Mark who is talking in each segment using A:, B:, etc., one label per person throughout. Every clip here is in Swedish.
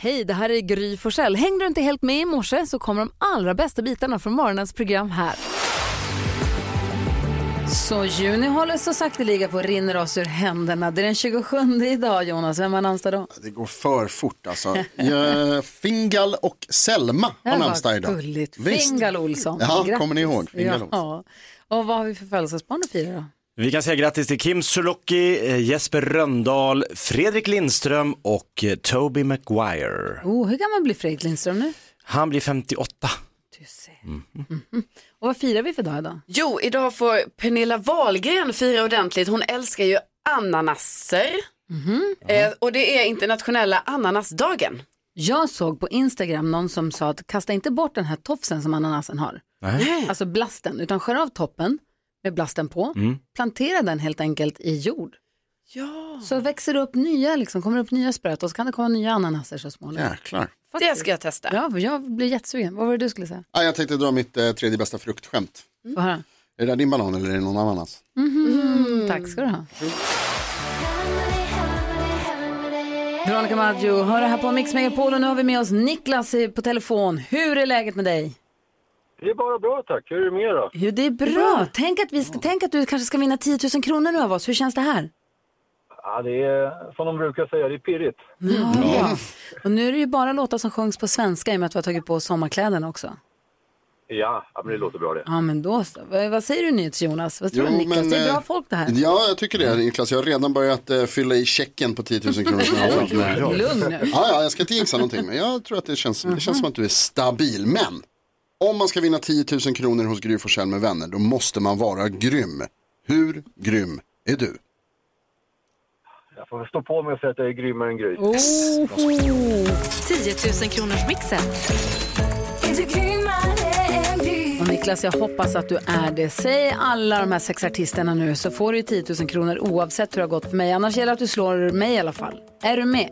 A: Hej, det här är Gry Forssell. Hängde du inte helt med i morse så kommer de allra bästa bitarna från morgonens program här. Så juni håller så sakteliga på att rinner oss ur händerna. Det är den 27 idag Jonas, vem har namnsdag då?
B: Det går för fort alltså. Eh, Fingal och Selma har
A: Äh, vad
B: namnsdag idag.
A: gulligt.
B: Visst.
A: Fingal Olsson.
B: Ja,
A: Grattis.
B: kommer ni ihåg? Fingal Olsson.
A: Ja. Och vad har vi för födelsedagsbarn att fira då?
C: Vi kan säga grattis till Kim Sulocki, eh, Jesper Röndahl, Fredrik Lindström och eh, Toby Maguire.
A: Oh, hur gammal blir Fredrik Lindström nu?
C: Han blir 58.
A: Du ser. Mhm. Och vad firar vi för dag idag?
D: Jo, idag får Pernilla Wahlgren fira ordentligt. Hon älskar ju ananaser.
A: Mhm.
D: Eh, och det är internationella ananasdagen.
A: Jag såg på Instagram någon som sa att kasta inte bort den här tofsen som ananasen har. Alltså blasten, utan skär av toppen med blasten på. Plantera den helt enkelt i jord.
D: Ja.
A: Så växer det upp nya, liksom, kommer det upp nya spröt och så kan det komma nya ananaser så småningom.
B: Jäklar.
D: Det ska jag testa.
A: Ja, för jag blir jättesugen. Vad var det du skulle säga?
B: Ah, jag tänkte dra mitt eh, tredje bästa fruktskämt.
A: Få höra.
B: Är det där din banan eller är det någon annans?
A: Tack ska du ha. Veronica Maggio, hör det här på Mix Megapol och nu har vi med oss Niklas i- på telefon. Hur är läget med dig?
E: Det är bara bra tack. Hur är det med er då?
A: Jo, det är bra. Tänk, att vi ska, tänk att du kanske ska vinna 10 000 kronor nu av oss. Hur känns det här?
E: Ja, det är som de brukar säga, det är pirrigt.
A: Ja. Och nu är det ju bara låtar som sjungs på svenska i och med att vi har tagit på oss sommarkläderna också.
E: Ja, ja, men det låter bra det.
A: Ja, men då så. Vad, vad säger du nyhets Jonas? Vad tror
B: Jo,
A: du Niklas?
B: men,
A: det är bra
B: eh,
A: folk det här.
B: Ja, jag tycker det Niklas. Jag har redan börjat eh, fylla i checken på 10 000 kronor som jag har framför mig.
A: Lugn nu.
B: Ja, ja, jag ska inte jinxa någonting, men jag tror att det känns, det
A: Mhm.
B: känns som att du är stabil. Men om man ska vinna 10 000 kronor hos Gry Forssell med vänner, då måste man vara grym. Hur grym är du?
E: Jag får stå på mig och säga att jag är grymmare än Gry.
F: 10 000 kronors mixen.
A: Och Niklas, jag hoppas att du är det. Säg alla de här sex artisterna nu så får du ju 10 000 kronor oavsett hur det har gått för mig. Annars gäller det att du slår mig i alla fall. Är du med?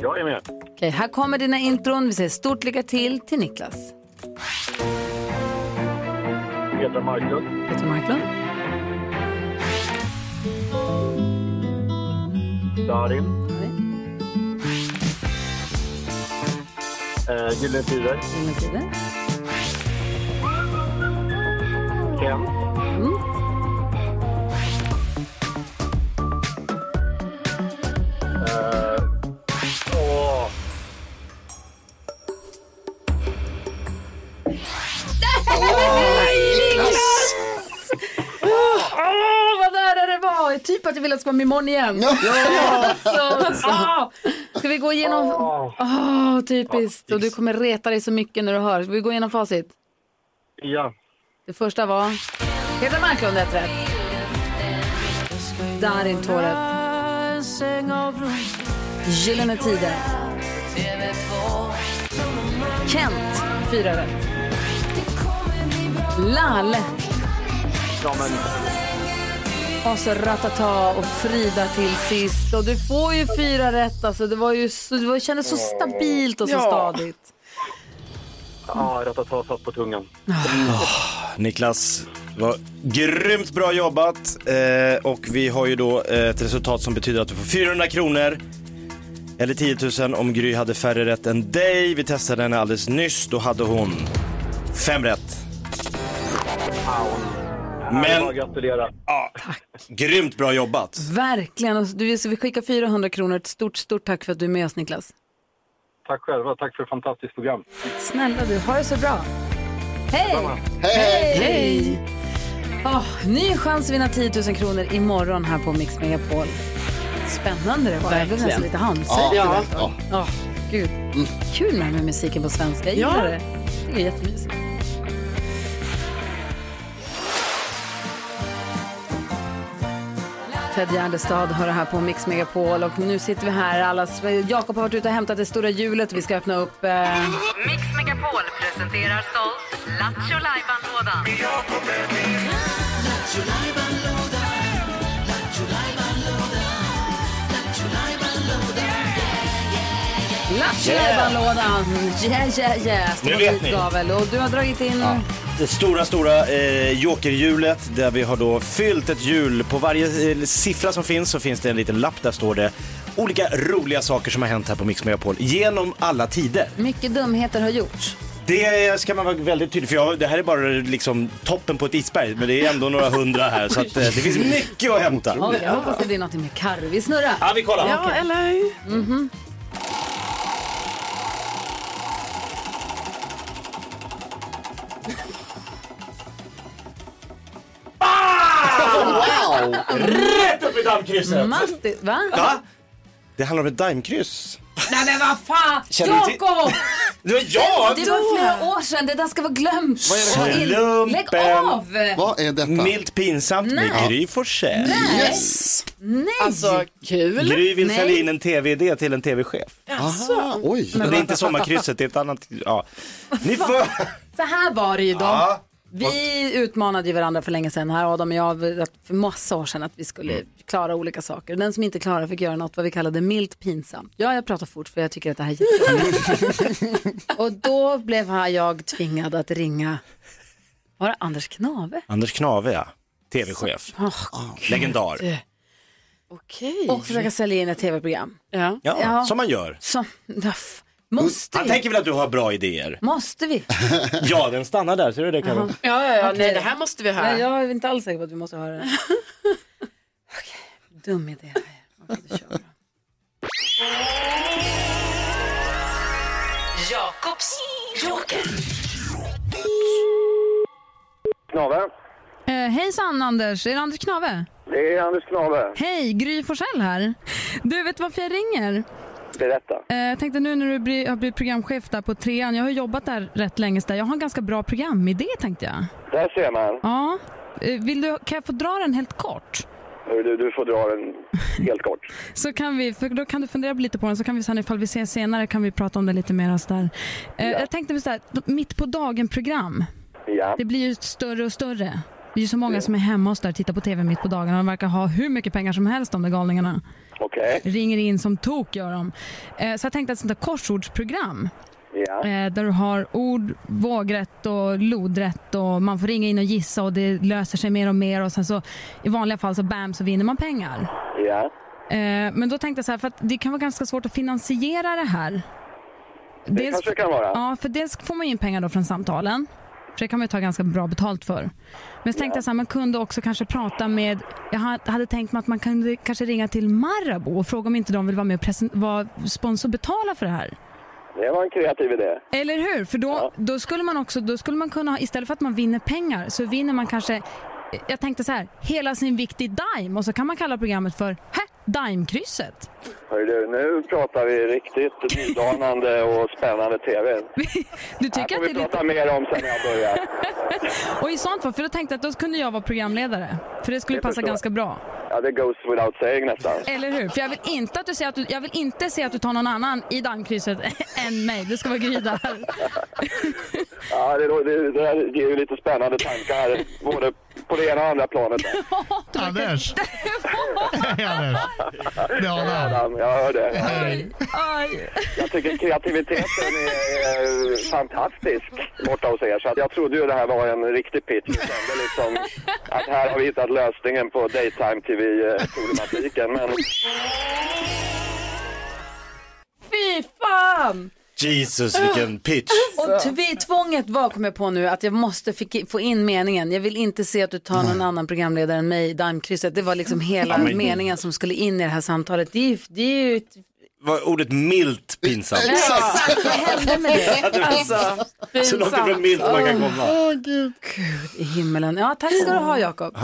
E: Jag är med.
A: Okej, här kommer dina intron. Vi säger stort lycka till till Niklas.
E: Petra Marklund,
A: Peter Marklund,
E: Darin,
A: Malin,
E: eh, Gyllene Tider,
A: Gyllene Tider,
E: Ken, eh, åh,
A: Åh, vad nära det var! Typ att jag ville att det skulle vara imorgon igen. Ja, så, så. Ska vi gå igenom...
E: ah,
A: Åh, typiskt. Och du kommer reta dig så mycket när du hör. Ska vi gå igenom facit?
E: ja,
A: Det första var... Peter Marklund, ett rätt. Darin, två rätt. Gyllene Tider. Kent, fyra rätt. Lalle.
E: ja men
A: Och så Alltså, Ratata och Frida till sist. Och du får ju fyra rätt. Alltså, det, var ju så, det var- kändes så stabilt och så stadigt.
E: ja, Ratata satt på tungan.
C: Niklas, vad grymt bra jobbat. Eh, och vi har ju då eh, ett resultat som betyder att du får 400 kronor. Eller 10 000 om Gry hade färre rätt än dig. Vi testade henne alldeles nyss. Då hade hon fem rätt.
E: Men... Bara
C: Men
E: gratulera.
C: grymt bra jobbat.
A: Verkligen. Och du, så vi skickar 400 kronor. Ett stort, stort tack för att du är med oss, Niklas.
E: Tack själva, tack för ett fantastiskt program.
A: Snälla du, ha det så bra. Hej!
B: Hej!
A: Hej! Åh, ny chans att vinna 10 000 kronor imorgon här på Mix Megapol. Spännande det var. Jag blev
D: Verkligen.
A: nästan lite
B: Ja.
A: handsvettig.
D: Ja. Mm.
B: Ja.
A: Åh, gud. Kul med, den här musiken på svenska. Jag gillar
D: Ja.
A: det. Det är jättemysigt. Ted Gärdestad hör det här på Mix Megapol och nu sitter vi här. Alla, Jakob har varit ute och hämtat det stora hjulet. Vi ska öppna upp... Eh,
F: Mix Megapol presenterar stolt Lattjo Lajban-lådan.
A: Lattjo-lajban-lådan! Yeah, yeah, yeah!
C: Nu
A: Stora
C: vet ni.
A: gavel. Och du har dragit in...
C: Det stora, stora eh, jokerhjulet där vi har då fyllt ett hjul. På varje eh, siffra som finns så finns det en liten lapp där står det olika roliga saker som har hänt här på Mix Megapol genom alla tider.
A: Mycket dumheter har gjorts.
C: Det ska man vara väldigt tydlig för jag, det här är bara liksom toppen på ett isberg men det är ändå några hundra här så att, eh, det finns mycket att hämta.
A: Oj, jag hoppas det blir något med karv. Vi snurrar.
C: Ja, vi kollar.
D: Ja, eller?
B: Wow!
C: Rätt upp i dammkrysset!
A: Matti, va?
C: Ja. Det handlar om ett daimkryss.
A: Nej men vad fan!
C: Känner du till-
A: Jakob!
C: Det var jag!
A: Det var flera år sedan, det där ska vara glömt.
B: Vad är det här?
A: Ill- Lägg
C: Lumpen.
A: av!
B: Vad är detta?
C: Milt pinsamt med Gry Forssell.
B: Yes!
A: Nej!
D: Alltså, kul.
C: Gry vill
A: Nej.
C: sälja in en tv-idé till en tv-chef.
B: Aha, oj.
C: Men det är inte sommarkrysset, det är ett annat... Ja. Ni får...
A: Så här var det ju då.
C: Ja.
A: Vi utmanade ju varandra för länge sedan här Adam och jag att för massa år sedan att vi
C: Mm.
A: skulle klara olika saker. Den som inte klarade fick göra något vad vi kallade milt pinsamt. Ja, jag pratar fort för jag tycker att det här är jättekul. Och då blev här jag tvingad att ringa, var det Anders Knave?
C: Anders Knave, ja. Tv-chef. Legendar.
D: Okej.
A: Och försöka sälja in ett tv-program.
D: Ja.
C: Ja,
A: Ja.
C: som man gör.
A: Så, naff. måste
C: Mm. Han
A: vi?
C: tänker väl att du har bra idéer?
A: Måste vi?
C: Ja, den stannar där. Ser du det Karin?
D: Ja, ja, ja. Nej, det här måste vi
A: Nej,
D: höra.
A: jag är inte alls säker på att vi måste höra det. Okej, dum idé. Okej, då kör vi.
F: Jakobs joker.
E: Knave.
G: Eh, hejsan Anders, är det Anders Knave?
E: Det är Anders Knave.
G: Hej, Gry Forssell här. Du, vet varför jag ringer?
E: Berätta.
G: Eh, jag tänkte nu när du blir, har blivit programchef där på trean, jag har jobbat där rätt länge, så där. jag har en ganska bra programidé tänkte jag.
E: Där ser man.
G: Ja, eh, vill du, kan jag få dra den helt kort?
E: Hör Du, du får dra den helt kort.
G: Så kan vi, för då kan du fundera lite på den, så kan vi sen ifall vi ses senare kan vi prata om den lite mer. och Så där. Eh, Jag tänkte så här, mitt på dagen-program,
E: Ja.
G: det blir ju större och större. Det är ju så många som är hemma och så där, tittar på TV mitt på dagarna och de verkar ha hur mycket pengar som helst de där galningarna.
E: Okej.
G: ringer in som tok gör de. Eh, så jag tänkte ett sånt där korsordsprogram
E: Ja.
G: eh, där du har ord, vågrätt och lodrätt och man får ringa in och gissa och det löser sig mer och mer och sen så i vanliga fall så bam så vinner man pengar.
E: Ja.
G: Eh, men då tänkte jag så här för att det kan vara ganska svårt att finansiera det här.
E: Det kanske det kan vara.
G: Ja, för dels får man ju in pengar då från samtalen. För det kan man ju ta ganska bra betalt för. Men så tänkte jag så här, man kunde också kanske prata med... Jag ha- hade tänkt mig att man kunde kanske ringa till Marabou och fråga om inte de vill vara med och presen- vara sponsor och betala för det här.
E: Det var en kreativ idé.
G: Eller hur? För då, då skulle man också, då skulle man kunna, ha- istället för att man vinner pengar så vinner man kanske, jag tänkte så här, hela sin vikt i Dime och så kan man kalla programmet för Hä? Dime-krysset.
E: Hör du, nu pratar vi riktigt nydanande och spännande tv.
G: Du tycker
E: Här
G: att
E: får
G: det är
E: vi
G: lite...
E: prata mer om sen när jag börjar.
G: Och i sånt fall, för då tänkte jag att då kunde jag vara programledare. För det skulle
E: Det
G: passa
E: förstår jag.
G: ganska bra.
E: Ja, det goes without saying nästan.
G: Eller hur? För jag vill inte, att du, säger att du, jag vill inte se att du tar någon annan i dammkrysset än mig. Det ska vara Gry där.
E: Ja, det, det, det där ger ju lite spännande tankar, både på det ena och andra planet. där.
H: Anders! Hej Anders! Det är Adam.
E: Adam, Jag hör det.
H: Hej.
G: Aj.
E: Jag tycker kreativiteten är, är fantastisk borta hos er. Så att jag trodde ju det här var en riktig pitch. Jag kände liksom att här har vi hittat lösningen på daytime tv-problematiken. Men
A: Fy fan!
C: Jesus, vilken pitch.
A: Och tv- tvånget var, kom jag på nu, att jag måste fick, få in meningen. Jag vill inte se att du tar någon annan programledare än mig i dammkrysset. Det var liksom hela meningen som skulle in i det här samtalet. Det är ju, det är ju ett...
C: Var ordet milt pinsamt?
B: Exakt!
A: Vad hände med det?
D: Alltså,
C: Så långt ifrån
D: pinsamt.
C: milt man kan komma.
A: I himmelen. Ja, tack ska du ha Jakob.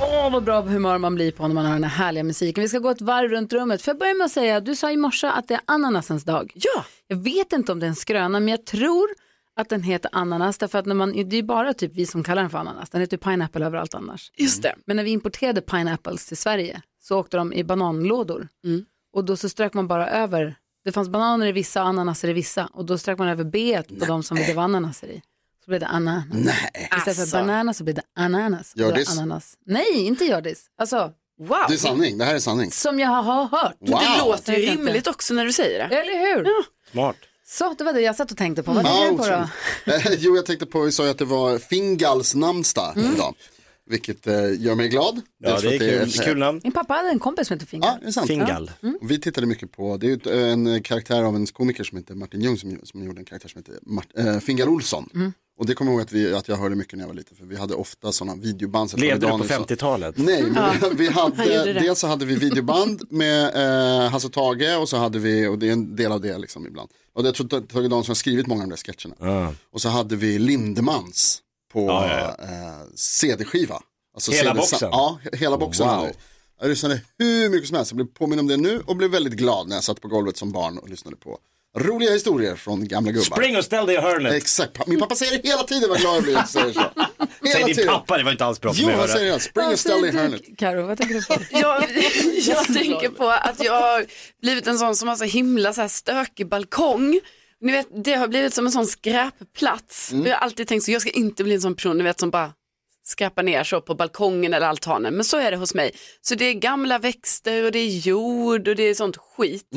A: Åh, vad bra humör man blir på när man hör den här härliga musiken. Vi ska gå ett varv runt rummet. För jag börjar med att säga, du sa i morse att det är ananasens dag.
D: Ja.
A: Jag vet inte om det är en skröna, men jag tror att den heter ananas. Därför att när man, det är ju bara typ vi som kallar den för ananas. Den heter ju pineapple överallt annars.
D: Just det.
A: Men när vi importerade pineapples till Sverige så åkte de i bananlådor.
B: Mm.
A: Och då så strök man bara över, det fanns bananer i vissa och ananaser i vissa. Och då strök man över B på de som det var ananaser i. Så blev det ananas.
B: Nej.
A: Istället
D: Alltså.
A: för bananas så blev det ananas. Och då
B: Gördis?
A: Ananas. Nej, inte gördis. Alltså,
D: Wow.
B: Det är sanning, det här är sanning.
A: som jag har hört.
B: Wow!
D: Det låter ju
A: Jag vet inte.
D: rimligt också när du säger det.
A: Eller hur?
C: Smart.
A: Så det var det jag satt och tänkte på. Vad
B: Ja,
A: tänker du på då?
B: otroligt. Eh, jo, jag tänkte på, vi sa ju att det var Fingals namnsdag
A: Mm.
B: idag. Vilket eh, gör mig glad.
C: Ja,
B: Dels för
C: det är
B: att
C: kul,
B: ett-
C: kul namn.
A: Min pappa hade en kompis som hette Fingal.
B: Ja, det är sant.
C: Fingal.
B: Och Vi tittade mycket på, det är ju ett- en karaktär av en komiker som heter Martin Ljung som, som gjorde en karaktär som heter Mart, eh, Fingal Olsson.
A: Mm.
B: Och det kommer jag ihåg att, vi, att jag hörde mycket när jag var liten för vi hade ofta sådana videoband. så jag
C: Levde du
B: tror
C: på
B: det var Daniel som-
C: 50-talet?
B: Nej, men vi
A: gjorde det.
B: hade, dels så hade vi videoband med eh, Hasse och Tage och så hade vi, och det är en del av det liksom ibland. Och jag tror att Tage Danielsson har skrivit många av de där sketcherna.
C: Ja.
B: Och så hade vi Lindemans på
C: Ja, ja,
B: Eh, CD-skiva. Alltså
C: Hela
B: CD
C: boxen?
B: Ja, he- hela boxen.
C: Wow.
B: hade vi. Jag lyssnade hur mycket som helst, jag blev påminn om det nu och blev väldigt glad när jag satt på golvet som barn och lyssnade på roliga historier från gamla gubbar.
C: Spring och ställ dig i hörnet.
B: Exakt, Pa- min pappa säger det hela tiden vad glad jag blir. när jag Säger så.
C: Säg
B: Hela
C: din
B: tiden.
C: pappa, det var inte alls bra för
B: Jo,
C: mig
B: han
C: att höra.
B: säger det. Spring och ställ dig i hörnet.
A: Karo, vad tänker du på?
D: Jag, jag tänker på att jag har blivit en sån som har så himla så här stökig balkong. Ni vet, det har blivit som en sån skräpplats. Jag har alltid tänkt så, jag ska inte bli en sån person ni vet, som bara skräpar ner så på balkongen eller altanen. Men så är det hos mig. Så det är gamla växter och det är jord och det är sånt skit.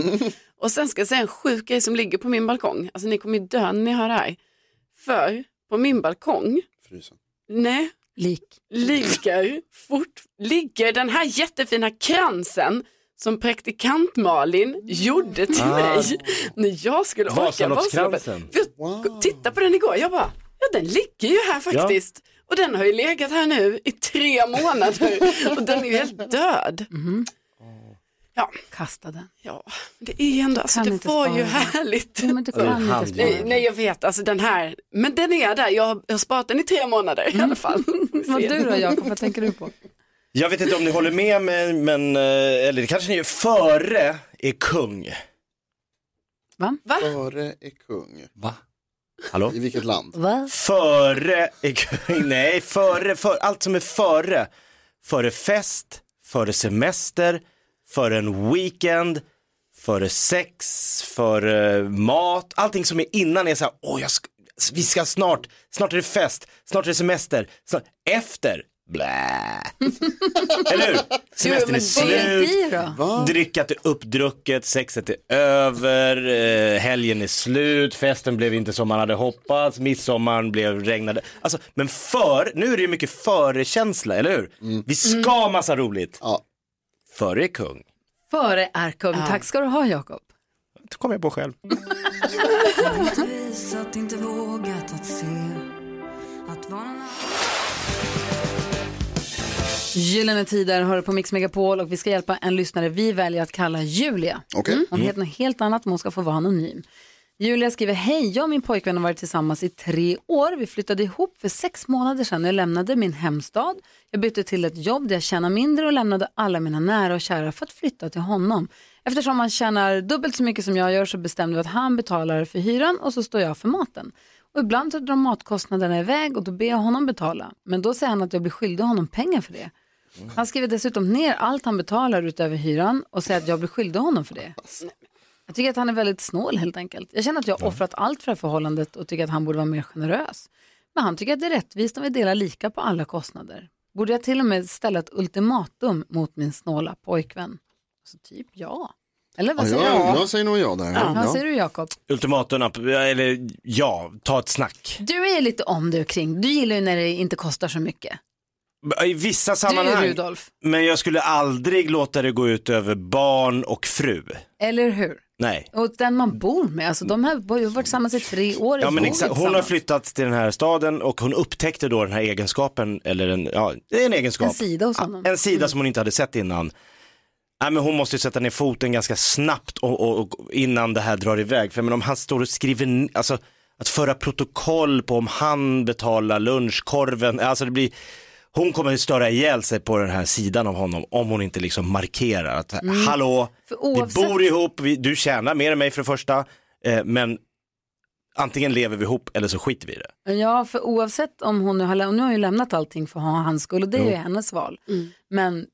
D: Och sen ska jag säga en sjuk grej som ligger på min balkong. Alltså ni kommer ju dö när ni hör det här. För på min balkong,
B: Frysen.
D: nej,
A: Lik.
D: ligger, fort, ligger den här jättefina kransen som praktikant Malin gjorde till mig när jag skulle åka
C: Vasaloppskransen.
D: Vasaloppet. För Jag tittade på den igår, jag bara, ja den ligger ju här faktiskt. Och den har ju legat här nu i tre månader och den är ju helt död.
A: Mm-hmm.
D: Ja,
A: Kasta den.
D: ja, det är ändå, alltså,
A: Kan
D: det
A: inte
D: var
A: spara
D: ju
A: den.
D: härligt.
A: Ja, men du kan inte
C: hand.
A: spela.
D: Nej, nej jag vet, alltså den här, men den är där, jag har, jag har sparat den i tre månader i alla fall.
A: Mm. Vad du då Jakob, vad tänker du på?
C: Jag vet inte om ni håller med mig, men, eh, eller det kanske ni gör. Före är kung.
B: Före är kung.
C: Va? Hallå?
B: I vilket land?
A: Va?
C: Före är kung, nej, före, för, allt som är före. Före fest, före semester, före en weekend, före sex, före mat. Allting som är innan är så här, åh, jag ska, vi ska snart, snart är det fest, snart är det semester, snart, efter, blä. Eller hur? Semestern är
A: Vad är
C: slut.
A: det då?
C: Drickat är uppdrucket, sexet är över, eh, helgen är slut, festen blev inte som man hade hoppats, midsommaren blev regnade. Alltså, men för, nu är det ju mycket förekänsla, eller hur? Vi ska ha massa roligt.
B: Ja.
C: Före är kung.
A: Före är kung. Tack ska du ha Jakob.
C: Det kom jag på själv.
A: Gyllene tider hör du på Mix Megapol och vi ska hjälpa en lyssnare vi väljer att kalla Julia.
B: Okej.
A: Hon heter något helt annat men hon ska få vara anonym. Julia skriver, hej, jag och min pojkvän har varit tillsammans i tre år. Vi flyttade ihop för sex månader sedan. Jag lämnade min hemstad. Jag bytte till ett jobb där jag tjänar mindre och lämnade alla mina nära och kära för att flytta till honom. Eftersom han tjänar dubbelt så mycket som jag gör så bestämde vi att han betalar för hyran och så står jag för maten. Och ibland så drar matkostnaderna iväg och då ber jag honom betala. Men då säger han att jag blir skyldig honom pengar för det. Han skriver dessutom ner allt han betalar utöver hyran och säger att jag blir skyldig honom för det. Jag tycker att han är väldigt snål helt enkelt. Jag känner att jag har offrat allt för det här förhållandet och tycker att han borde vara mer generös. Men han tycker att det är rättvist om vi delar lika på alla kostnader. Borde jag till och med ställa ett ultimatum mot min snåla pojkvän? Så typ ja. Eller vad
B: Ja,
A: säger
B: jag,
A: du?
B: jag säger nog ja där.
A: Vad säger du Jakob?
C: Ultimatum, eller ja, ta ett snack.
A: Du är lite om du kring. Du gillar ju när det inte kostar så mycket.
C: I vissa
A: Du är ju
C: sammanhang.
A: Rudolf,
C: Men jag skulle aldrig låta det gå ut över barn och fru.
A: eller hur?
C: Nej.
A: Och den man bor med, alltså de här har ju varit tillsammans i tre år.
C: Ja men
A: bor
C: exakt, hon har
A: tillsammans.
C: flyttat till den här staden och hon upptäckte då den här egenskapen, eller en, ja, det är en egenskap.
A: En sida hos honom. Mm.
C: En sida som hon inte hade sett innan. Nej men hon måste ju sätta ner foten ganska snabbt och, och, och innan det här drar iväg. För men om han står och skriver, n- alltså att föra protokoll på om han betalar lunchkorven, alltså det blir hon kommer att störa ihjäl sig på den här sidan av honom om hon inte liksom markerar att
A: Mm.
C: hallå,
A: För oavsett-
C: vi bor ihop, vi, du tjänar mer än mig för det första, eh, men antingen lever vi ihop eller så skiter vi i det.
A: Ja, för oavsett om hon nu har, lä- nu har ju lämnat allting för hans skull och det är ju hennes val.
C: Mm.
A: Men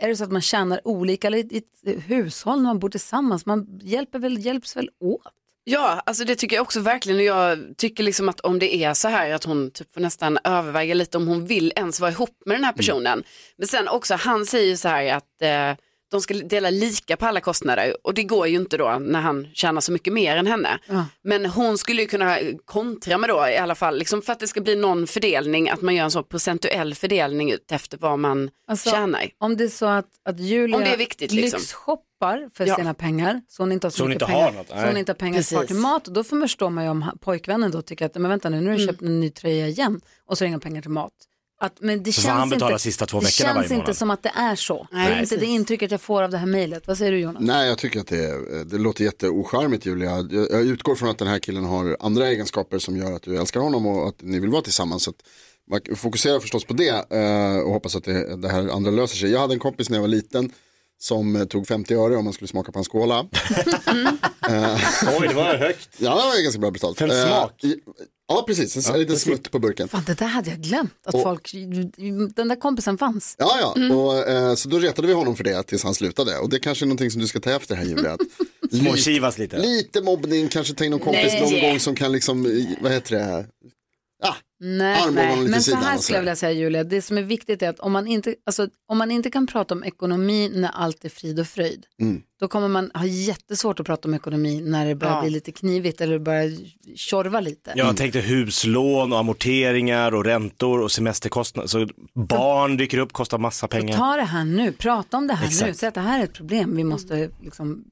A: är det så att man tjänar olika eller i ett hushåll när man bor tillsammans, man hjälper väl, hjälps väl åt?
D: Ja, alltså det tycker jag också verkligen. Och Jag tycker liksom att om det är så här att hon typ får nästan överväga lite om hon vill ens vara ihop med den här personen. Men sen också, han säger ju så här att eh, de ska dela lika på alla kostnader och det går ju inte då när han tjänar så mycket mer än henne. Men hon skulle ju kunna kontra med då i alla fall, liksom för att det ska bli någon fördelning, att man gör en sån procentuell fördelning ut efter vad man
A: Alltså,
D: tjänar.
A: Om det är så att, att Julia
D: Om det är viktigt, liksom.
A: lyxshoppar för
D: Ja.
A: sina pengar så hon inte har så,
C: Så hon
A: mycket
C: inte
A: pengar,
C: har något,
A: så
C: nej.
A: hon inte har pengar
D: Precis.
A: kvar till mat. Och då förstår man ju om ha- pojkvännen då tycker att men vänta nu, nu har
C: Mm.
A: du köpt en ny tröja igen och så har du inga pengar till mat. Att, men det
C: Så får
A: känns
C: han betala
A: inte,
C: sista två
A: det
C: veckorna varje
A: känns inte
C: månad.
A: som att det är så.
D: Nej,
A: det är inte det
D: precis.
A: intrycket jag får av det här mejlet. Vad säger du Jonas?
B: Nej, jag tycker att det, det låter jätteocharmigt Julia. Jag, jag utgår från att den här killen har andra egenskaper som gör att du älskar honom och att ni vill vara tillsammans. Så att man fokuserar förstås på det eh, och hoppas att det, det här andra löser sig. Jag hade en kompis när jag var liten som eh, tog 50 öre om man skulle smaka på en skåla.
C: Oj, det var högt.
B: Ja, det var ju ganska bra betalt.
C: För en
B: Eh,
C: smak.
B: i- Ja, precis. En, sån här liten smutt på burken.
A: Fan, det där hade jag glömt, att folk, den där kompisen fanns.
B: Ja, ja. Och, eh, så då retade vi honom för det tills han slutade. Och det kanske är någonting som du ska ta efter här Julia. Att lite,
C: Småkivas lite.
B: lite mobbning, kanske ta in någon kompis någon gång som kan liksom, eh, vad heter det? Ah,
A: Nej,
B: Armbågarna
A: nej.
B: lite
A: men så
B: sidan
A: här
B: och
A: skulle jag
B: sådär.
A: vilja säga Julia, det som är viktigt är att om man inte, alltså, om man inte kan prata om ekonomi när allt är frid och fröjd,
B: Mm.
A: då kommer man ha jättesvårt att prata om ekonomi när det börjar
D: Ja.
A: bli lite knivigt eller börjar tjorva lite.
C: Jag tänkte huslån och amorteringar och räntor och semesterkostnader. Så barn dyker upp, kostar massa pengar.
A: Ta det här nu, prata om det här nu,
C: Exakt.
A: säg att det här är ett problem vi måste liksom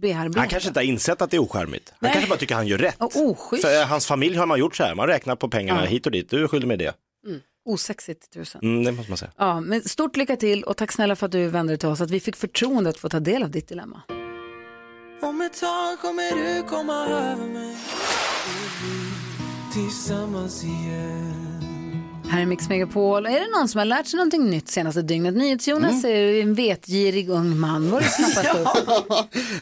A: bearbeta.
C: Han kanske inte har insett att det är oskärmigt. Han kanske bara tycker han gör rätt.
A: Och oschysst,
C: För eh, hans familj har man gjort så här, man räknar på pengarna hit och dit. Du är skyldig med det.
A: osexigt tusen.
C: Mm, det måste man säga.
A: Ja, men stort lycka till och tack snälla för att du vände dig till oss, att vi fick förtroendet att få ta del av ditt dilemma.
I: Om ett tag kommer du komma över mig Tillsammans igen
A: Här är Mix Megapol. Är det någon som har lärt sig någonting nytt senaste dygnet? NyhetsJonas är ju en vetgirig ung man. Var det snappat upp?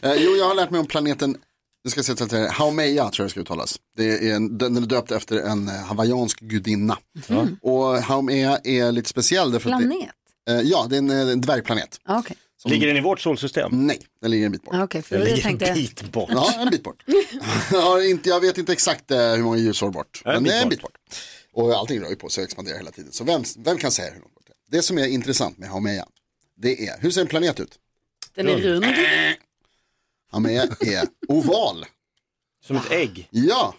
B: Eh, jo, jag har lärt mig om planeten, det ska sägas att det är Haumea tror jag det ska uttalas. Det är en, den är döpt efter en eh, hawaiiansk gudinna. Mm. Och Haumea är lite speciell. Därför Att
A: Planet?
B: det, eh, ja, det är en, eh, en dvärgplanet.
A: Ah, Okej,
C: Ligger den i vårt solsystem?
B: Nej, den ligger en bit bort.
A: Ah, okay. för
C: Den
A: jag
C: ligger en
A: Mm. tänkte
C: bit bort.
B: Ja, en bit bort. jag, har inte, jag vet inte exakt eh, hur många ljusår bort.
C: En
B: men
C: bit
B: det är en
C: bort.
B: bit bort. Och allting rör ju på sig och expanderar hela tiden. Så vem, vem kan säga hur långt bort det är? Det som är intressant med Haumea, det är, hur ser en planet ut?
D: Den är rund.
B: Haumea är oval.
C: Som ett ägg.
B: Ja,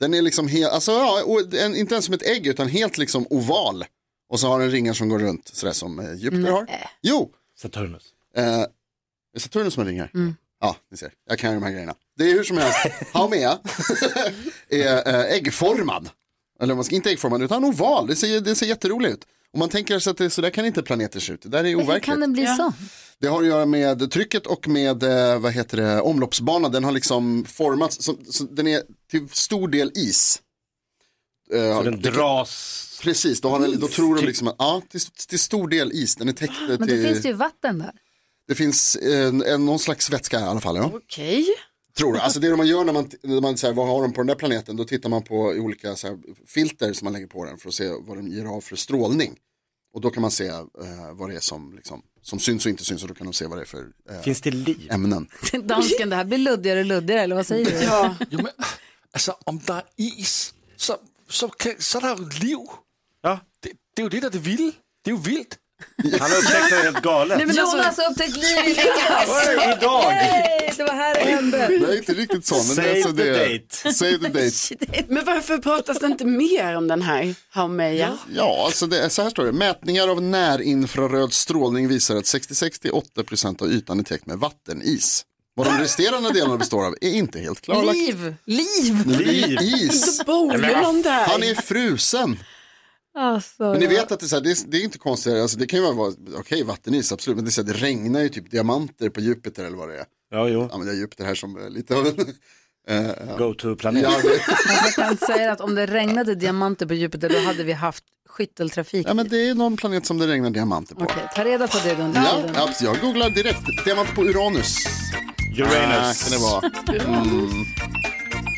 B: den är liksom helt, alltså ja, och en, inte ens som ett ägg utan helt liksom oval. Och så har den ringar som går runt, sådär som eh, Jupiter
C: Mm.
B: har.
C: Äh.
B: Jo,
C: Saturnus.
B: eh, är det Saturnus som har ringar?
A: Mm.
B: Ja, ni ser, jag kan ju de här grejerna. Det är hur som helst, Haumea är eh, äggformad. Eller man ska inte äggformad utan oval, det ser, det ser jätteroligt ut. Om man tänker sig att det, så där kan inte planeter se ut, det där är
A: hur
B: overkligt.
A: kan den bli så?
B: Det har att göra med trycket och med eh, vad heter det, omloppsbanan. Den har liksom formats, så, så den är till stor del is. Eh,
C: Och den
B: det-
C: dras.
B: Precis, då, har den, då tror de liksom att, ja, till, till stor del is. Den är täckt eh,
A: Men
B: till,
A: då finns det ju vatten där.
B: det finns en, en, någon slags vätska i alla fall. Ja.
D: Okej,
B: Tror jag. Alltså det man gör när man, när man så här, vad har de på den där planeten, då tittar man på olika så här, filter som man lägger på den för att se vad de ger av för strålning. Och då kan man se eh, vad det är som, liksom, som syns och inte syns och då kan de se vad det är för eh,
C: Finns det liv?
B: ämnen.
A: Dansken, det här blir luddigare och luddigare, eller vad säger du?
D: ja.
I: Jo men, alltså om det är is så, så, kan, så är det ju liv
C: Ja.
I: det, det är ju det där det vill Det är ju vilt
C: Han har upptäckt något helt galet.
D: men alltså-
A: Jonas har upptäckt liv i Niklas!
C: Oj, idag!
A: Hej, det var här det hände.
B: Nej, inte riktigt så. Men
C: Save
B: det, är alltså
C: the
B: det,
C: date.
B: Save the date.
D: Men varför pratas det inte mer om den här Hameja?
B: Ja, alltså det, är- så här står det. Mätningar av närinfraröd strålning visar att 66-8% av ytan är täckt med vattenis. Vad de resterande delarna består av är inte helt klarlagt.
A: Liv! Liv!
B: Det
C: Liv.
B: är Is.
D: Det bor ju någon där.
B: Han är frusen.
A: Alltså,
B: Men ni vet att det är, så här, det är, det är inte konstigt. Alltså det kan ju vara, okej vattenis absolut, men det, är så här, det regnar ju typ diamanter på Jupiter eller vad det är.
C: Ja, jo.
B: Ja, men det är Jupiter här som är lite av en...
C: Go to planet.
B: Ja, det,
A: Alltså, jag kan säga att om det regnade diamanter på Jupiter då hade vi haft skytteltrafik.
B: ja, men det är någon planet som det regnar diamanter på.
A: Okej, ta reda på det då. under
B: Ja,
A: tiden.
B: absolut. Jag googlar direkt. Diamant på Uranus. Ah,
C: Uranus.
B: kan det vara.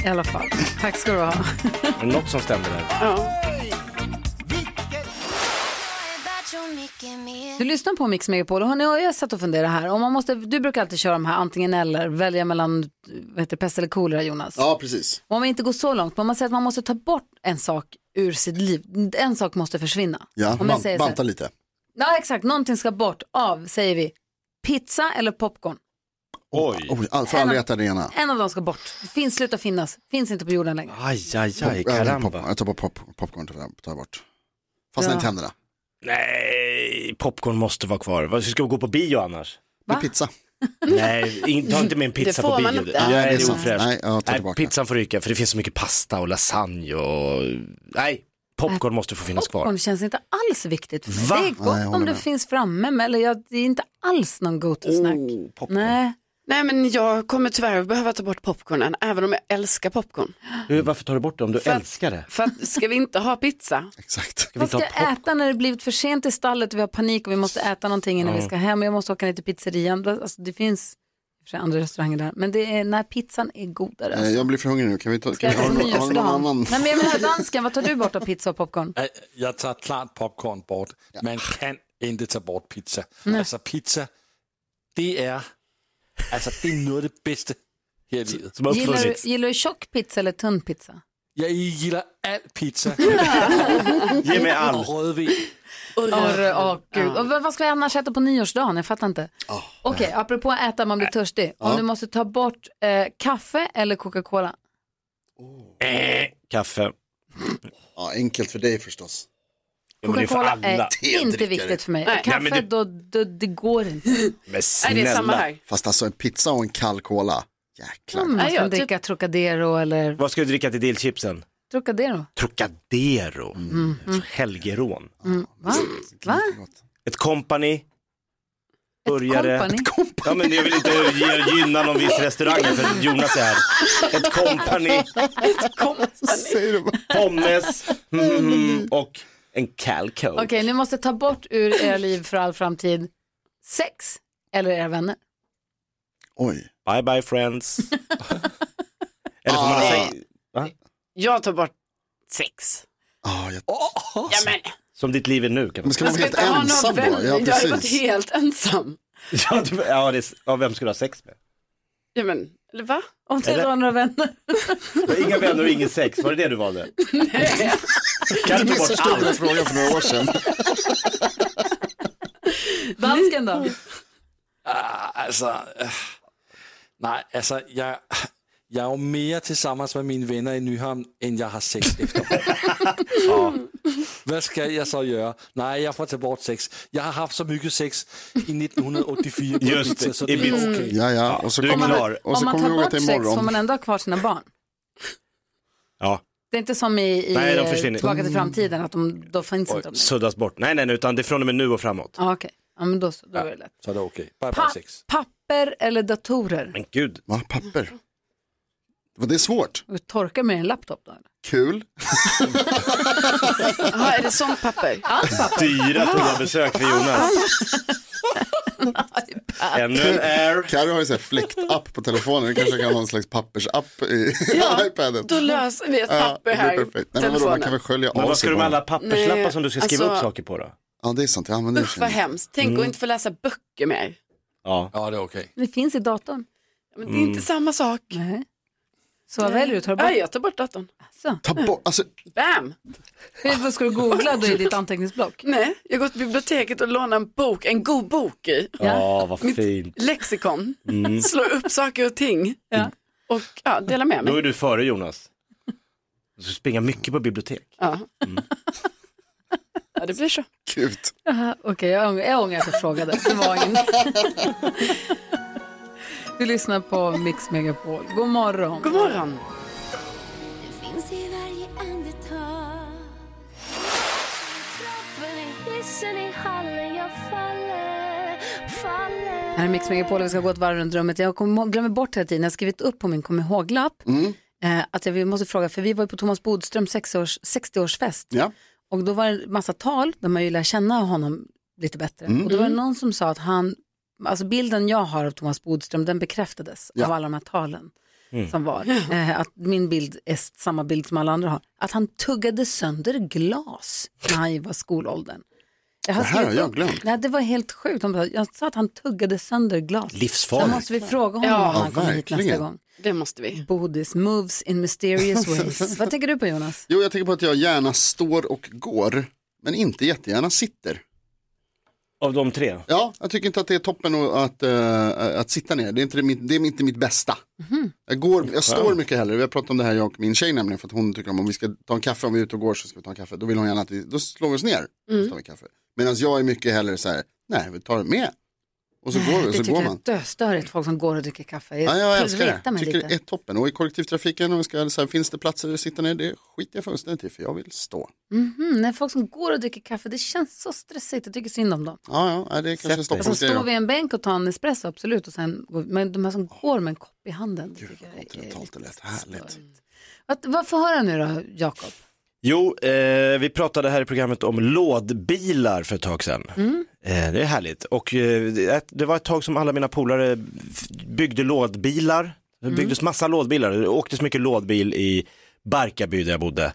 A: I alla fall. Tack ska du ha.
C: Är det Något som stämmer där.
A: Du lyssnar på Mix Megapol och hörni, jag har satt och funderat här. Om man måste, du brukar alltid köra de här antingen eller, välja mellan vad heter, det, pest eller kolera Jonas.
B: Ja, precis.
A: Om man inte går så långt, men om man säger att man måste ta bort en sak ur sitt liv, en sak måste försvinna.
B: Ja,
A: om
B: ban-
A: jag säger så här,
B: banta lite.
A: ja exakt, någonting ska bort av, säger vi, Pizza eller popcorn?
C: Oj.
B: Oj, all- får aldrig äta det ena.
A: En av dem ska bort. Finns, sluta finnas. Finns inte på jorden längre.
C: Aj, aj,
B: Pop,
C: aj,
B: äh, popcorn.
C: karamba.
B: jag tar bort pop, popcorn, tar jag- tar jag bort. Fastnar
A: Ja.
B: inte händerna.
C: Nej, popcorn måste vara kvar. Vad ska vi gå på bio annars?
B: Det är pizza.
C: Nej, in- ta inte med en pizza
D: får
C: på bio.
D: man
C: Nej,
D: inte.
C: det
D: Ja,
B: det är
C: är
B: sant.
C: ofräscht.
B: Nej, jag tar tillbaka.
C: pizzan får ryka för det finns så mycket pasta och lasagne och... Nej, popcorn måste få finnas kvar.
A: Popcorn känns inte alls viktigt för mig.
C: Va?
A: Det är
B: Nej, jag
A: gott
B: håller
A: om det
B: med.
A: finns framme, men eller jag, det är inte alls någon go-to-snack.
B: Oh,
A: Nej,
D: Nej men jag kommer tyvärr behöva ta bort popcornen, även om jag älskar popcorn.
C: Du, varför tar du bort det om du
D: För att-
C: älskar det?
D: För att, ska vi inte ha pizza?
B: Exakt.
C: Ska vi
A: Vad
C: inte
A: ska
C: ha
A: jag
C: popcorn?
A: äta när det blivit för sent i stallet och vi har panik och vi måste äta någonting innan vi ska hem och jag måste åka ner till pizzerian. Alltså, det finns i och för sig andra restauranger där, men det är när pizzan är godare.
B: Eh,
A: Alltså.
B: Jag blir för hungrig nu, kan vi ta,
A: Ska
B: kan
A: jag
B: vi ha,
A: äta på
B: någon- har du någon
A: nyårsdagen?
B: annan?
A: Nej men jag menar dansken, vad tar du bort av pizza och popcorn?
I: Nej, Jag tar klart popcorn bort. Man kan inte ta bort pizza. Alltså pizza, det är, alltså, det är något av det bästa här i livet.
C: Som har
A: Gillar du,
C: uppfunnits.
A: gillar du tjock pizza eller tunn pizza?
I: Jag gillar all pizza.
C: Ge mig all.
I: Och rödvin.
D: Och
A: Orre, åh, gud. Och vad vad ska vi annars äta på nyårsdagen? Jag fattar inte.
B: Ah,
A: Okej, apropå att äta, man blir törstig. Om
B: Ja.
A: du måste ta bort eh, kaffe eller Coca-Cola?
C: Eh, Kaffe.
B: Ja, enkelt för dig förstås.
C: Ja, men det är för
A: Coca-cola är
C: alla.
B: Tedrickare.
A: inte viktigt för mig.
D: Nej.
A: Kaffe,
C: Nej, men det- Mm.
A: Då, då, det går inte.
C: Men
D: Nej, det är samma
C: snälla.
D: här.
B: Fast alltså en pizza och en kall cola, jäklar.
A: Mm, man
D: Nej, typ
A: ska
D: jag
A: dricka Trocadero eller
C: Vad ska du dricka till dillchipsen?
A: Trocadero.
C: Trocadero.
D: Mm.
C: Helgerån.
A: mm. Va? Va?
C: Ett company. Burgare.
A: Company?
C: Ja, men jag vill inte ge- gynna någon viss restaurang här, för Jonas är här. Ett company,
B: Säger du bara.
C: pommes mm, och en calco.
A: Okej, ni måste ta bort ur era liv för all framtid sex eller era vänner.
B: Oj.
C: Bye bye friends. Eller får man säga,
D: Jag tar bort sex.
B: Ah, jag...
D: Ja, men,
C: som ditt liv är nu kan man
B: Men
C: säga.
B: ska man vara helt ensam då? Ja,
D: jag har varit
B: precis.
D: helt ensam.
C: Ja, du, ja, det, är- ja, vem ska du ha sex med?
D: Ja, men, eller va?
A: Om du inte
C: Eller-
A: har några vänner.
C: Inga vänner och ingen sex, var det det du valde? Kan du
B: Du
C: ta bort
B: missförstod den
A: Mm.
C: allt?
B: frågan för några år sedan.
A: Dansken då?
I: Ah, alltså, eh, nej, alltså jag, jag är ju mer tillsammans med mina vänner i Nyhamn än jag har sex efter. Vad ska jag så göra? Nej, jag får ta bort sex. Jag har haft så mycket sex i 1984 på
C: Just
I: pizza,
C: det,
I: så
C: i
I: det är
C: pizza.
I: okej.
B: Ja, ja. Och så
C: Du är
B: kommer och
C: klar.
A: Mm. Om
B: så
A: man
B: kommer
A: tar
B: du ihåg
A: bort
B: att det
A: sex
B: är
A: får
B: imorgon.
A: man ändå ha kvar sina barn.
C: Ja,
A: Det är inte som i, i
C: Nej, de
A: eh,
C: försvinner. Mm.
A: Tillbaka till framtiden, att de, då finns inte de.
C: suddas bort. Nej, nej, nej, utan det är från och med nu och framåt.
A: Ja, okej. Ja, men då, så, då är det lätt.
I: Så det är okej. Bara, bara
A: Pa
I: sex.
A: papper eller datorer?
C: Men gud,
B: Va, papper? Vad, Det är svårt.
A: Torka med en laptop då? eller?
B: Kul.
D: Jaha, är det sånt papper?
C: dyra toabesök för Jonas. Ännu en air.
B: Carro har ju så här fläktapp på telefonen. Du kanske kan ha en slags pappersapp i iPaden.
D: Då löser vi Alltså, ett papper
B: det
D: här
B: är
D: i
B: perfekt. Nej, men vadå, man kan
D: telefonen.
B: väl skölja
C: Men
B: av
C: vad ska
B: sig
C: du med
B: bara.
C: alla papperslappar
D: Nej,
C: som du ska skriva
D: alltså-
C: upp saker på då?
B: Ja, det är sant. Jag använder
D: Usch vad hemskt. Tänk
A: Mm.
D: att inte få läsa böcker mer.
C: Ja.
I: Ja, det är okej.
A: Det finns i datorn.
D: Men
B: Mm.
D: det är inte samma sak.
A: Nej. Så Mm. vad väljer du? Tar du
D: Ja,
A: bort?
D: jag tar bort datorn.
A: Alltså.
B: Ta bort, alltså,
D: Bam!
A: Hur vad ska du googla då i ditt anteckningsblock?
D: Nej, jag går till biblioteket och lånar en bok, en god bok i.
C: Ja, vad fint.
D: Lexikon.
C: Mm.
D: Slår upp saker och ting. Och ja, delar med
C: Då
D: mig.
C: är du före Jonas. Du ska springa mycket på bibliotek.
D: Ja.
C: Mm.
D: ja, det blir så.
B: gud.
A: Jaha, Okej, jag ångrar, jag ångrar att jag frågade. Det var ingen. Du lyssnar på Mix Megapol. God morgon.
D: God morgon.
A: Här är Mix Megapol och vi ska gå ett varv runt rummet. Jag kommer, glömmer bort hela tiden, jag har skrivit upp på min kom ihåg-lapp eh, att jag vill- måste fråga, för vi var ju på Thomas Bodströms sexårs- 60-årsfest
B: Ja.
A: och då var det en massa tal där man ju lär känna honom lite bättre.
B: Mm.
A: Och då var det någon som sa att han, alltså bilden jag har av Thomas Bodström den bekräftades av alla de här talen som var. Eh, att min bild är s- samma bild som alla andra har. Att han tuggade sönder glas när han var skolåldern. Jag
B: Det här har
A: skrivit
B: jag
A: upp-
B: glömt.
A: Nej, det var helt sjukt. De bara, jag sa att han tuggade sönder glas. Då
C: Livsfarligt.
A: måste vi fråga honom
D: Ja,
A: om han kommer hit nästa
B: verkligen.
A: gång.
D: Det måste vi.
A: Bodis moves in mysterious ways. Vad tänker du på Jonas?
B: Jo, jag tänker på att jag gärna står och går, men inte jättegärna sitter.
C: Av de tre?
B: Ja, jag tycker inte att det är toppen att, att, eh, att sitta ner. Det är inte mitt, det är inte mitt bästa.
D: Mhm.
B: Jag, går, jag står mycket hellre. Vi har pratat om det här jag och min tjej nämligen. För att hon tycker om om vi ska ta en kaffe, om vi är ute och går så ska vi ta en kaffe. Då vill hon gärna att vi, då slår vi oss ner. Mm. tar vi kaffe. Medan jag är mycket hellre så här, nej vi tar det med. Och så går vi,
A: Det
B: så går
A: tycker jag
B: man.
A: är döstörigt, folk som går och dricker kaffe.
B: Ja, jag
A: vill
B: älskar
A: reta
B: det.
A: mig
B: Tycker
A: lite.
B: det är toppen. Och i kollektivtrafiken, om vi ska, så här, finns det platser att sitta ner? Det skiter jag fullständigt i, för jag vill stå.
A: Mhm, när folk som går och dricker kaffe, det känns så stressigt. Jag tycker synd om dem.
B: Ja, ja, nej, det är kanske
C: dig.
B: en
A: Som
B: Stockholmsgrej.
A: står
B: då.
A: vid en bänk och tar en espresso, absolut. Och sen, går- men de här som går med en kopp i handen. det tycker jag är
B: kontinentalt det
A: lite
B: lät härligt.
A: störigt. Vad, vad får höra nu då, Jakob?
C: Jo, eh, vi pratade här i programmet om lådbilar för ett tag sedan. Eh, det är härligt. Och eh, det- det var ett tag som alla mina polare f- byggde lådbilar. Det byggdes massa lådbilar. Det åktes mycket lådbil i Barkarby där jag bodde.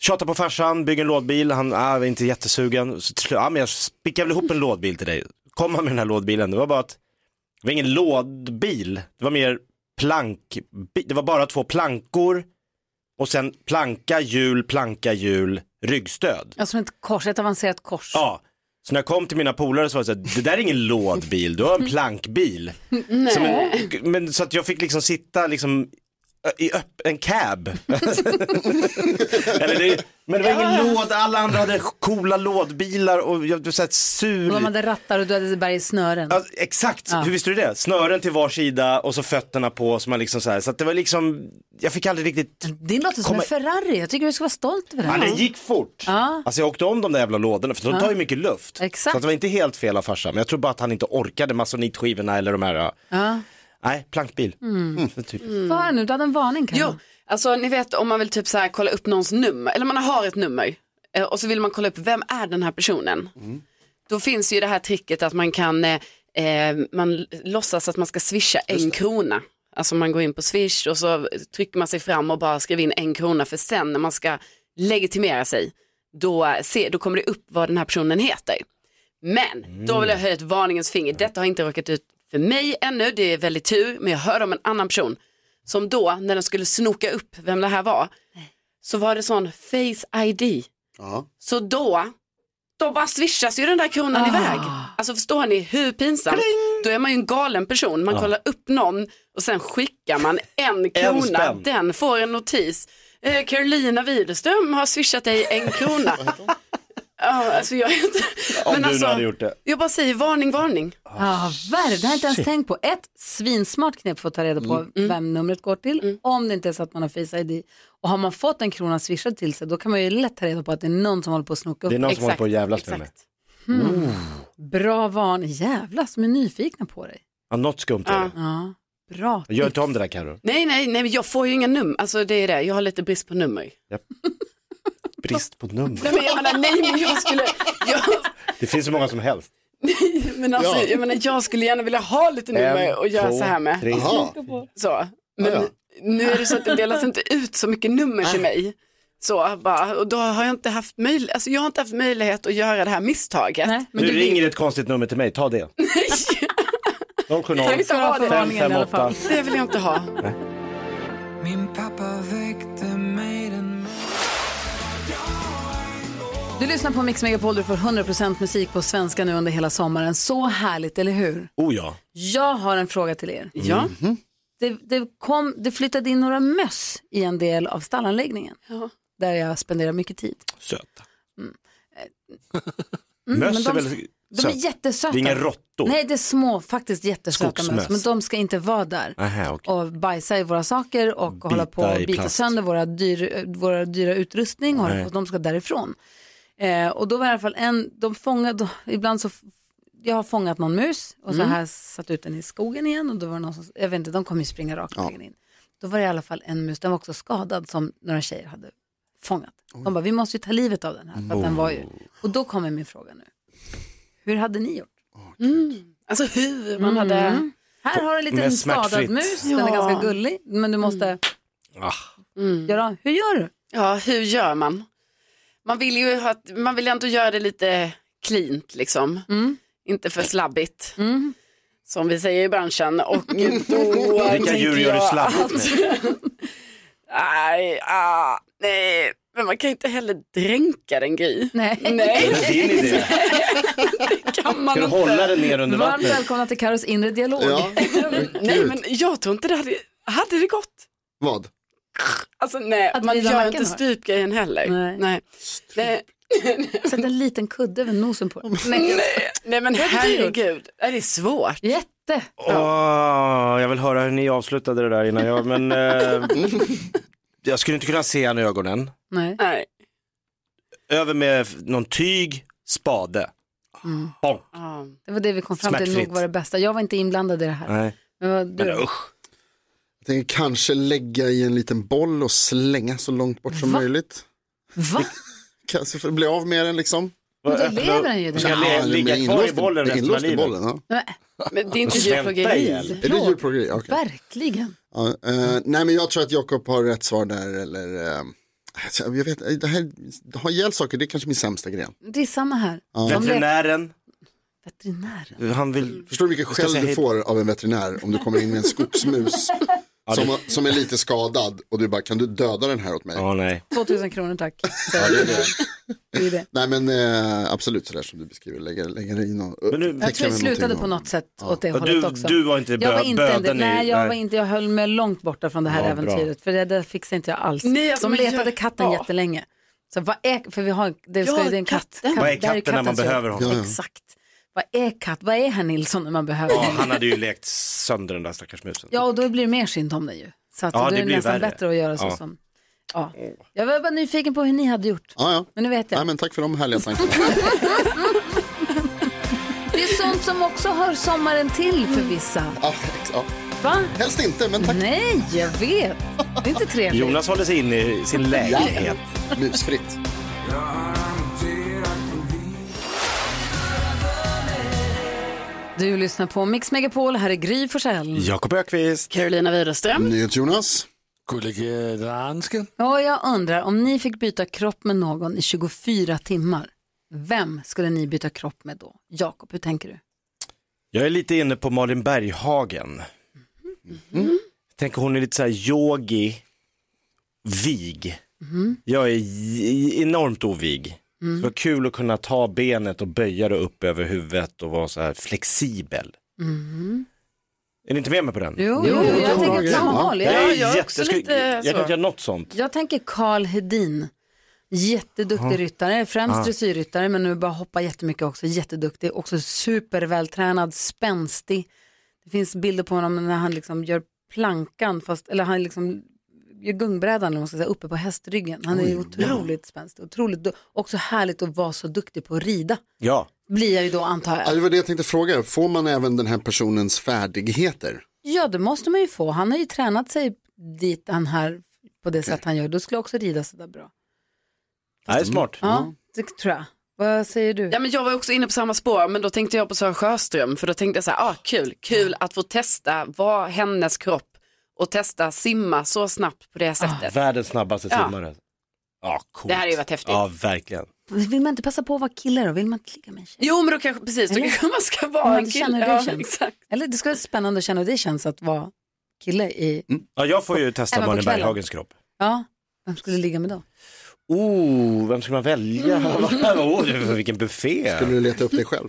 C: Tjatade på farsan, bygg en lådbil. Han ah, var inte jättesugen. Så till slut, ah, men jag spickar väl ihop en lådbil till dig. Kom han med den här lådbilen. Det var bara att det var ingen lådbil. Det var mer plank. Det var bara två plankor. Och sen planka, hjul, planka, hjul, ryggstöd.
A: Alltså ett kors, ett avancerat kors.
C: Ja. Så när jag kom till mina polare så var det så här, det där är ingen lådbil, du har en plankbil. Som en, men så att jag fick liksom sitta liksom ö- i öpp, en cab. Eller det, men det var ingen låd, alla andra hade coola lådbilar och jag blev så här sur.
A: Och De hade rattar och du hade berg i snören.
C: Ja, exakt, hur visste du det? Snören till var sida och så fötterna på. Så, man liksom så, här. så att det var liksom, jag fick aldrig riktigt
A: Din låter som en
C: Kommer-
A: Ferrari, jag tycker du ska vara stolt över den.
C: Ja, den gick fort. Alltså jag åkte om de där jävla lådorna för de tar ju mycket luft.
A: Exakt.
C: Så att det var inte helt fel av farsan. Men jag tror bara att han inte orkade masonitskivorna eller de här. ja. Nej, plankbil. Mm. Typ.
A: Vad har jag nu? Du hade en varning kanske?
D: Jo, alltså ni vet om man vill typ så här kolla upp någons nummer, eller man har ett nummer eh, och så vill man kolla upp vem är den här personen. Då finns ju det här tricket att man kan, eh, eh, man låtsas att man ska swisha en krona. Alltså man går in på swish och så trycker man sig fram och bara skriver in en krona för sen när man ska legitimera sig då, eh, se, då kommer det upp vad den här personen heter. Men då vill jag höja ett varningens finger. Detta har inte råkat ut för mig ännu, det är väldigt tur, men jag hörde om en annan person som då, när de skulle snoka upp vem det här var, så var det sån face ID.
B: Ja.
D: Så då, då bara swishas ju den där kronan iväg. Alltså förstår ni hur pinsamt? Då är man ju en galen person. Man kollar upp någon och sen skickar man en krona.
C: spänn.
D: den får en notis. Eh, Carolina Widerström har swishat dig en krona. Ja, alltså jag är inte...
C: Om
D: Men
C: du
D: alltså,
C: nu hade gjort det.
D: jag bara säger varning, varning.
A: Ah, värre, det har jag inte ens tänkt på. Ett svinsmart knep för att ta reda på
C: Mm.
A: vem numret går till, om det inte är så att man har Face ID. Och har man fått en krona swishad till sig, då kan man ju lätt ta reda på att det är någon som håller på att snoka upp.
C: Det är någon som håller på att jävlas med mig.
D: Exakt.
A: Bra van, jävlar som är nyfikna på dig.
C: Ja, något skumt är det.
A: Ja, bra.
C: Gör inte om det där Carro.
D: Nej, nej, nej, men jag får ju inga nummer. Alltså det är det, jag har lite brist på nummer.
C: Brist på nummer.
D: Nej, men jag menar, nej, men jag skulle... Jag,
C: Det finns så många som helst.
D: Men alltså,
B: Ja.
D: jag, menar, jag skulle gärna vilja ha lite nummer och göra så här med.
C: tre.
B: Jaha,
D: Så. Men
B: Ja,
D: nu är det så att det delas inte ut så mycket nummer till mig. Så bara, och då har jag inte haft möjlighet, alltså jag har inte haft möjlighet att göra det här misstaget.
A: Nej, men
C: Nu
A: du
C: ringer ett konstigt nummer till mig, ta det. 070
D: Jag vill inte ha det.
C: 558.
D: Det vill jag inte ha.
A: Du lyssnar på Mix Megapol, du får 100% musik på svenska nu under hela sommaren. Så härligt, eller hur?
C: Oh ja.
A: Jag har en fråga till er.
D: Ja,
B: Mhm.
A: det, det, kom, det flyttade in några möss i en del av stallanläggningen. Där jag spenderar mycket tid.
C: Söta. Möss
A: mm, men de-
C: är väl
A: De är
C: söta?
A: jättesöta.
C: Det är inga råttor?
A: Nej, det är små, faktiskt jättesöta möss.
C: Skogsmöss.
A: Men de ska inte vara där
C: Aha, okej.
A: och bajsa i våra saker och hålla på och
C: i
A: bita
C: plast.
A: sönder våra, dyr, eh, våra dyra utrustning. Och hålla på, de ska därifrån. Eh, och då var i alla fall en, de fångade, då, ibland så, f- jag har fångat någon mus och
C: Mm.
A: så har jag satt ut den i skogen igen och då var det någon som, jag vet inte, de kommer ju springa rakt vägen in. Då var det i alla fall en mus, den var också skadad som några tjejer hade fångat. De bara, vi måste ju ta livet av den här för att den var ju, och då kommer min fråga nu. Hur hade ni gjort?
D: alltså hur
A: Mm.
D: man hade...
A: Här har du en liten
C: Med
A: skadad
C: smärtfritt.
A: mus, den är
D: Ja.
A: ganska gullig, men du måste
C: Ah.
A: göra, hur gör du?
D: Ja, hur gör man? Man vill ju ha, man vill ändå göra det lite cleant liksom. Inte för slabbigt. Som vi säger i branschen. Och då
C: Vilka
D: tänker
C: djur gör du
D: jag
C: slabbigt
D: att-
C: med?
D: Nej, ah, nej, Men man kan inte heller dränka den Gry.
A: Nej.
C: Det
D: Nej,
C: är din idé.
D: det kan man
C: Ska du
D: inte.
C: hålla den ner under
A: Varmt
C: vattnet?
A: välkomna till Karos inre dialog.
B: Ja.
D: Nej, men jag tror inte det hade, hade det gått.
B: Vad?
D: Alltså nej,
A: Att
D: man
A: vrida
D: gör
A: nacken
D: inte
A: har.
D: strypgrejen heller.
A: Nej.
D: Nej. Nej,
A: Sätt en liten kudde över nosen på den.
D: nej men herregud, Nej, det är svårt.
A: Jätte.
C: Åh, jag vill höra hur ni avslutade det där innan jag, men eh, jag skulle inte kunna se han i ögonen.
A: Nej.
D: Nej.
C: Över med f- någon tyg, spade. Bonk.
D: Ja.
A: Mm. Det var det vi kom fram till nog
C: Smärtfritt.
A: var det bästa. Jag var inte inblandad i det här.
C: Nej,
A: Men vad,
C: men
A: du,
C: usch.
B: Jag tänker kanske lägga i en liten boll och slänga så långt bort som
A: Va?
B: möjligt.
A: va?
B: Kanske för att bli av med den liksom.
A: Men då
C: Öppna-
A: lever den ju. Den.
C: Ska jag
B: Ja,
C: le-
B: den
C: ligga
B: blir
C: kvar i
B: inlåst
C: bollen
B: blir
C: resten av
B: inlåst i
C: livet?
B: bollen. Ja.
A: Men,
D: Men det är inte
C: Svälta
D: djurplågeri.
C: ihjäl.
B: Är det djurplågeri? Okej.
A: Verkligen.
B: Ja, eh, nej men jag tror att Jakob har rätt svar där eller eh, alltså, jag vet, eh, det här, ha ihjäl saker det är kanske min sämsta gren.
A: Det är samma här. Ja.
C: Veterinären,
A: Veterinären.
C: han vill...
B: Förstår du vilken
C: ska
B: skäll
C: säga
B: du
C: hej.
B: får av en veterinär om du kommer in med en skogsmus som, har- som är lite skadad och du bara kan du döda den här åt mig?
C: Ja, nej.
A: 2000 kronor tack. Så, det är det.
B: Nej men eh, absolut sådär som du beskriver, lägga, lägga det i någon. eh,
C: Men nu-
A: Jag tror det slutade på något sätt åt det
C: Ja,
A: hållet
C: Du,
A: också.
C: du var inte,
A: jag
C: bö-
A: var inte en del,
C: böden
A: nej, jag
C: nej.
A: var inte, jag höll mig långt borta från det här
C: Ja, bra.
A: äventyret. För det där fixade inte jag alls.
D: Nej, alltså,
A: De
D: men
A: letade
D: jag-
A: katten
D: ja.
A: jättelänge. Så vad är, för vi har, det, ska,
D: Ja,
A: ju- det är en katt.
D: katten.
C: Vad är
A: där
C: katten när man
A: kattens jobb.
C: behöver honom?
B: Ja, ja.
A: Exakt. Vad är katt? Vad är herr Nilsson när man behöver
C: Ja,
A: honom?
C: han hade ju lekt sönder den där stackars musen.
A: Ja, och då blir det mer synd om den ju. Så att
C: Ja,
A: då
C: det
A: är det
C: blir
A: nästan
C: värre.
A: bättre att göra så
C: Ja.
A: som... Ja. Jag var bara nyfiken på hur ni hade gjort.
B: Ja, ja.
A: Men nu vet jag.
B: Nej, men tack för de härliga tankarna.
A: Det är sånt som också hör sommaren till för vissa.
B: ja, ja.
A: Va?
B: Helst inte men tack.
A: Nej, jag vet. Det är inte trevligt.
C: Jonas håller sig inne i sin lägenhet.
B: Musfritt.
A: Du lyssnar på Mix Megapol, här är Gry Forssell.
C: Jakob Ökvist.
D: Carolina Widerström.
B: Jonas.
I: Gullige danske.
A: Och jag undrar, om ni fick byta kropp med någon i 24 timmar, vem skulle ni byta kropp med då? Jakob, hur tänker du?
C: Jag är lite inne på Malin Berghagen. Tänker hon är lite så här yogi, vig. Jag är j- enormt ovig. Så det var kul att kunna ta benet och böja det upp över huvudet och vara så här flexibel. Är ni inte med mig på den?
A: Jo, jag tänker åt samma
B: ja.
A: håll.
C: Jag,
A: Jag,
C: är
D: Ja, jag är
C: jätte-
D: också
C: skulle-
D: lite
C: jag
D: så.
C: kan inte göra något sånt.
A: jag tänker Carl Hedin, jätteduktig ryttare, främst dressyrryttare, men nu bara hoppa jättemycket också, jätteduktig, också supervältränad, spänstig. Det finns bilder på honom när han liksom gör plankan, fast, eller han liksom gör gungbrädan eller vad man ska säga, uppe på hästryggen. Han är ju otroligt spänstig, otroligt du- också härligt att vara så duktig på att rida.
C: Ja.
A: Blir jag ju då antar jag.
B: Ja, det var det jag tänkte fråga. Får man även den här personens färdigheter?
A: Ja, det måste man ju få. Han har ju tränat sig dit han här på det sätt han gör. Då skulle jag också rida sådär bra.
C: Det är smart.
A: Ja, det tror jag. Vad säger du?
D: Ja, men jag var också inne på samma spår men då tänkte jag på Sören Sjöström för då tänkte jag så här, ah, kul, kul att få testa vad hennes kropp och testa simma så snabbt på det sättet.
C: Världens snabbaste
D: Ja.
C: simmare. Ja, coolt.
D: Det här hade ju varit häftigt.
C: Ja, verkligen.
A: Vill man inte passa på att vara kille då? Vill man inte ligga med en tjej?
D: Jo men då kanske, precis, då
A: Ah. Eller?
D: kanske man ska
A: Om
D: vara
A: man
D: en kille.
A: känner hur det
D: Ja,
A: känns.
D: exakt.
A: Eller det skulle vara spännande att känna hur det känns att vara kille i...
C: Ja, jag får ju testa
A: Även på
C: Malin
A: kvällen.
C: Berghagens kropp.
A: Ja, vem skulle ligga med då?
C: Oh, vem ska man välja? oh, det- vilken buffé!
B: Skulle du leta upp dig själv?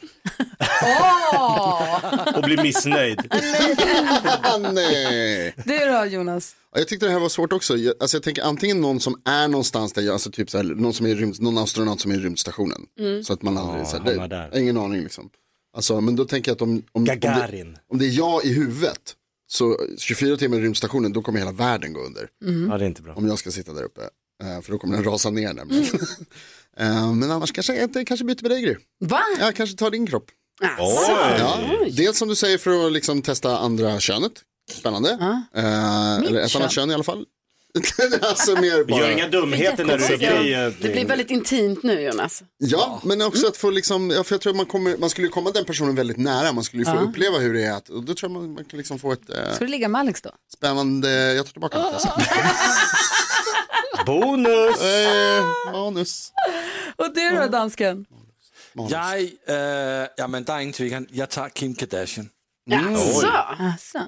C: Och bli missnöjd.
B: Nej.
A: Du då Jonas?
B: Ja, Jag tyckte det här var svårt också. Jag, alltså jag tänker antingen någon som är någonstans där, jag, alltså typ så här, någon, som är i rymd, någon astronaut som är i rymdstationen. Så att man aldrig, så här,
C: hamnar
B: det,
C: där.
B: ingen aning liksom. Alltså, men då tänker jag att om, om, om, det,
C: Gagarin.
B: om det är jag i huvudet, så 24 timmar i rymdstationen, då kommer hela världen gå under.
C: Ja, det är inte bra.
B: Om jag ska sitta där uppe, Eh, för då kommer den rasa ner nämligen. Eh, men annars kanske jag inte- kanske byter med dig Gry.
A: Va?
B: Jag kanske tar din kropp. Ja,
C: Oj!
B: dels som du säger för att liksom testa andra könet. Spännannde. Eh, eller ett
A: kön.
B: annat kön i alla fall. alltså mer
C: Vi
B: bara...
C: gör inga dumheter när du sitter i... eh,
D: Det blir väldigt intimt nu Jonas.
B: Ja, men också att få liksom, ja, för jag tror man, kommer, man skulle ju komma den personen väldigt nära, man skulle ju få uppleva hur det är att, och då tror jag man, man kan liksom få ett eh,
A: Ska du ligga med Alex då?
B: spännande, jag tar tillbaka mitt alltså.
C: Bonus!
B: eh, manus.
A: Och du då dansken?
I: Jeg, øh, jamen, der er ingen tvivl. Jeg tager Kim Kardashian.
D: Så.
A: Alltså.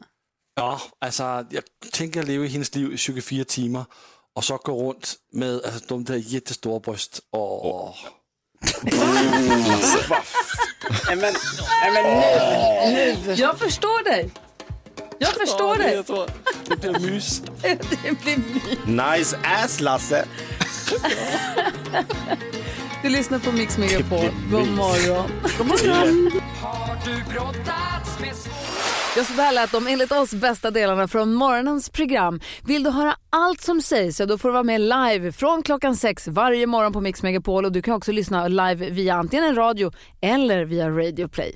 I: Ja, altså, jeg tænker at leve hendes liv i 24 timer, og så gå rundt med altså, de der jättestora bryst og...
J: Nej, men, nej, men nu.
A: Jag förstår dig. Jag förstår dig.
I: Det bliver mys.
A: Det blir mys.
C: Nice ass Lasse!
A: Du lyssnar på Mix Megapol. God morgon. God Ja, så där lät de enligt oss bästa delarna från morgonens program. Vill du höra allt som sägs så då får du vara med live från klockan sex varje morgon på Mix Megapol och du kan också lyssna live via antingen en radio eller via Radio Play.